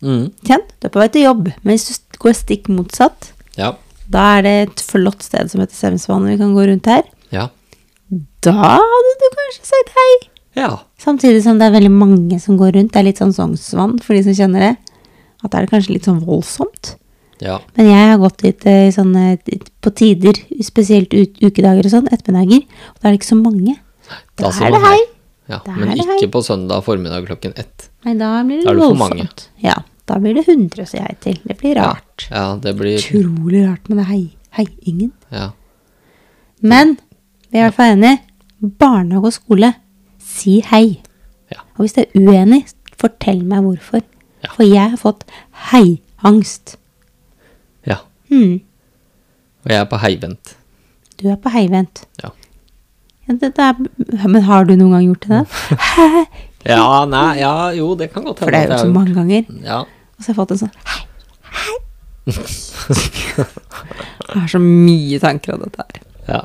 S2: Mm.
S1: Ikke sant? Du er på vei til jobb. Men hvis du st- går stikk motsatt,
S2: Ja.
S1: da er det et flott sted som heter Semsvannet vi kan gå rundt her.
S2: Ja.
S1: Da hadde du kanskje sagt hei.
S2: Ja.
S1: Samtidig som det er veldig mange som går rundt. Det er litt sånn Sognsvann for de som kjenner det. At da er det kanskje litt sånn voldsomt.
S2: Ja.
S1: Men jeg har gått dit eh, i sånne, på tider, spesielt ut, ukedager og sånn, ettermiddager. Og da er det ikke så mange. Da er
S2: sier altså man
S1: det hei.
S2: Ja,
S1: Da
S2: men
S1: er det
S2: ikke
S1: hei.
S2: på søndag formiddag klokken ett.
S1: Nei, da blir det,
S2: Da er det for mange.
S1: voldsomt. Ja, da blir det 100 å si hei til. Det blir rart.
S2: Ja, det blir
S1: Utrolig rart med det hei, heiingen.
S2: Ja.
S1: Men vi er i hvert fall enige. Barnehage og skole, si hei.
S2: Ja.
S1: Og hvis du er uenig, fortell meg hvorfor.
S2: Ja.
S1: For jeg har fått heiangst.
S2: ja.
S1: Hmm,
S2: Og jeg er på heivent.
S1: du er på heivent.
S2: Ja.
S1: Ja, det, det er, men har du noen gang gjort det? da? Hæ?
S2: Ja, nei, ja, jo, det kan godt
S1: For det
S2: hende.
S1: er jo
S2: at
S1: så
S2: jeg har
S1: mange ganger.
S2: gjort- Ja.
S1: Og så har jeg fått en sånn hei, hei. Jeg har så mye tanker om dette her.
S2: ja.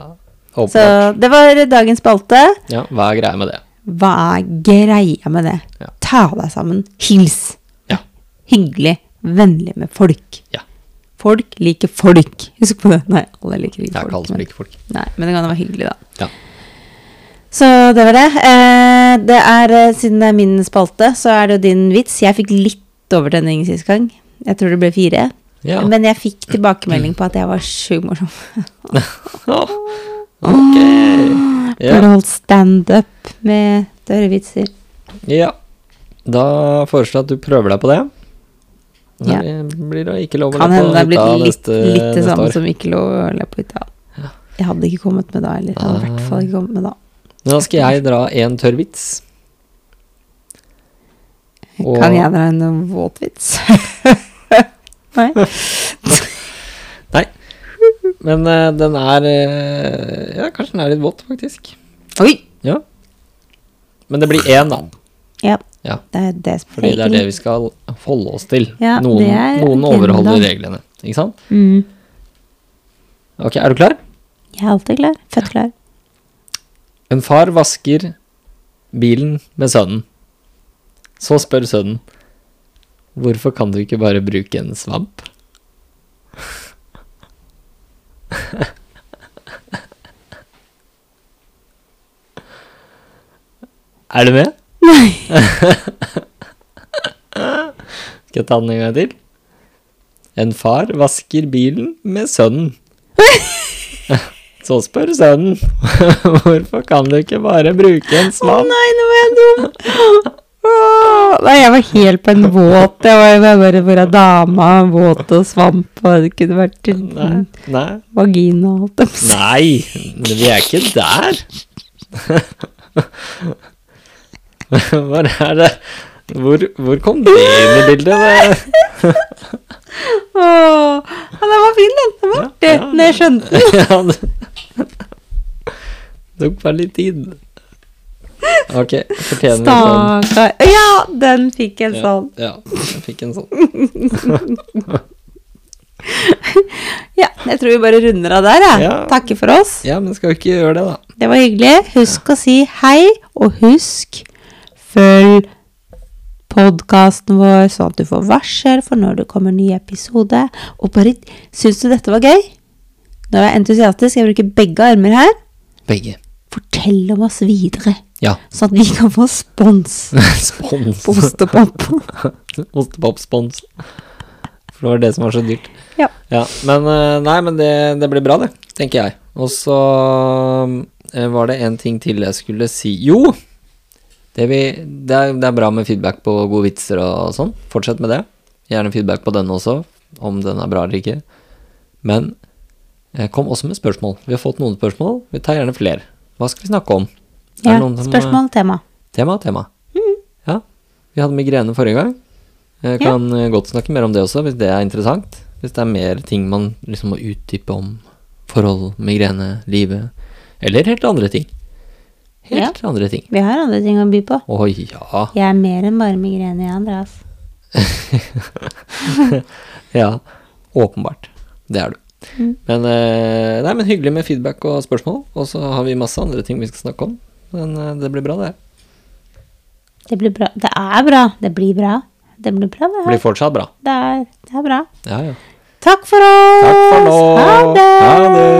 S1: Så
S2: Åpenbart.
S1: det var dagens spalte.
S2: Ja, hva er greia med det?
S1: Hva er greia med det?
S2: Ja.
S1: Ta deg sammen. Hils.
S2: Ja.
S1: Hyggelig. Vennlig med folk.
S2: Ja.
S1: Folk liker folk. Husk på det. Nei, alle liker
S2: Det
S1: ikke
S2: er ikke alle
S1: folk.
S2: som
S1: Men,
S2: liker folk.
S1: nei, men det kan være hyggelig, da.
S2: Ja.
S1: Så det var det. Eh, det er, eh, siden det er min spalte, så er det jo din vits. Jeg fikk litt overtenning sist gang. Jeg tror det ble fire.
S2: ja.
S1: Men jeg fikk tilbakemelding på at jeg var sjukt morsom.
S2: Ok.
S1: Ja.
S2: Ja.
S1: Bare holdt standup med dørre vitser.
S2: ja. Da foreslår jeg at du prøver deg på det.
S1: Ja.
S2: Det blir da ikke lov å
S1: Kan
S2: le på
S1: hende det er blitt
S2: hytta
S1: litt,
S2: neste-
S1: litt det
S2: neste
S1: samme
S2: år.
S1: som ikke lå eller på hytta. Jeg hadde ikke kommet med da heller. Jeg hadde i hvert fall ikke kommet med da.
S2: Men da skal jeg dra en tørr vits. Og-
S1: Kan jeg dra en våtvits? Nei?
S2: Men eh, den er eh, Ja, kanskje den er litt våt, faktisk.
S1: Oi!
S2: Ja. Men det blir én, da.
S1: Ja,
S2: Ja,
S1: det er det som
S2: fordi det er det vi skal holde oss til.
S1: Ja,
S2: noen
S1: det er
S2: noen
S1: agendaen.
S2: overholder reglene, ikke sant?
S1: Mm.
S2: Ok, er du klar?
S1: Jeg er alltid klar. Født klar.
S2: En far vasker bilen med sønnen. Så spør sønnen Hvorfor kan du ikke bare bruke en svamp? Er du med?
S1: Nei.
S2: Skal jeg ta den en gang til? En far vasker bilen med sønnen. Så spør sønnen hvorfor kan du ikke bare bruke en
S1: Å
S2: svann?
S1: nei, nå var jeg dum! Åh, nei, jeg var helt på en våt. Jeg var, jeg bare bare dama, våt og svamp, og det kunne vært til
S2: Nei, nei,
S1: vagina og alt.
S2: nei, vi er ikke der. Hvor er det? Hvor, hvor kom det inn i bildet?
S1: Åh, ja, den var fin, den. Den var
S2: Ja,
S1: artig.
S2: ja,
S1: Når jeg skjønte den.
S2: Ja, det det tok bare litt tid. Ok, fortjener vi sånn.
S1: Stakkar. Ja, den fikk en sånn.
S2: Ja, ja, jeg fikk en sånn.
S1: Ja, jeg tror vi bare runder av der, jeg.
S2: Ja.
S1: Takker for oss.
S2: Ja, men skal vi ikke gjøre det, da?
S1: Det var hyggelig. Husk å si hei, og husk følg podkasten vår, sånn at du får varsel for når det kommer ny episode. Og bare Syns du dette var gøy? Nå er jeg entusiastisk, jeg bruker begge armer her.
S2: Begge.
S1: Fortell om oss videre,
S2: Ja.
S1: sånn at vi kan få spons
S2: Spons.
S1: på ostepop.
S2: Ostepopspons. For det var det som var så dyrt.
S1: Ja.
S2: Ja, men eh, nei, men det, det blir bra, det. Tenker jeg. Og så eh, var det en ting til jeg skulle si. Jo! Det, vi, det, er, det er bra med feedback på gode vitser og sånn. Fortsett med det. Gjerne feedback på denne også, om den er bra eller ikke. Men eh, kom også med spørsmål. Vi har fått noen spørsmål. Vi tar gjerne flere. Hva skal vi snakke om? Er det
S1: ja.
S2: noen som- eh,
S1: Spørsmål, tema.
S2: Tema, tema. Ja. Vi hadde migrene forrige gang. Jeg
S1: Ja.
S2: kan eh, godt snakke mer om det også, hvis det er interessant. Hvis det er mer ting man liksom må utdype om forhold, migrene, livet. Eller helt andre ting. Helt andre ting.
S1: Vi har andre ting å by på.
S2: Å ja.
S1: Jeg er mer enn bare migrene, jeg, Andreas.
S2: Ja. Åpenbart. Det er du.
S1: Mm.
S2: Men, eh, nei, men hyggelig med feedback og spørsmål. Og så har vi masse andre ting vi skal snakke om. Men eh, det blir bra, det.
S1: Det blir bra. Det er bra. Det blir bra. Det blir bra, det
S2: Det
S1: her.
S2: blir fortsatt bra.
S1: Det er, det er bra.
S2: Ja, ja.
S1: Takk for oss!
S2: Takk for nå.
S1: Ha det!
S2: Ha det.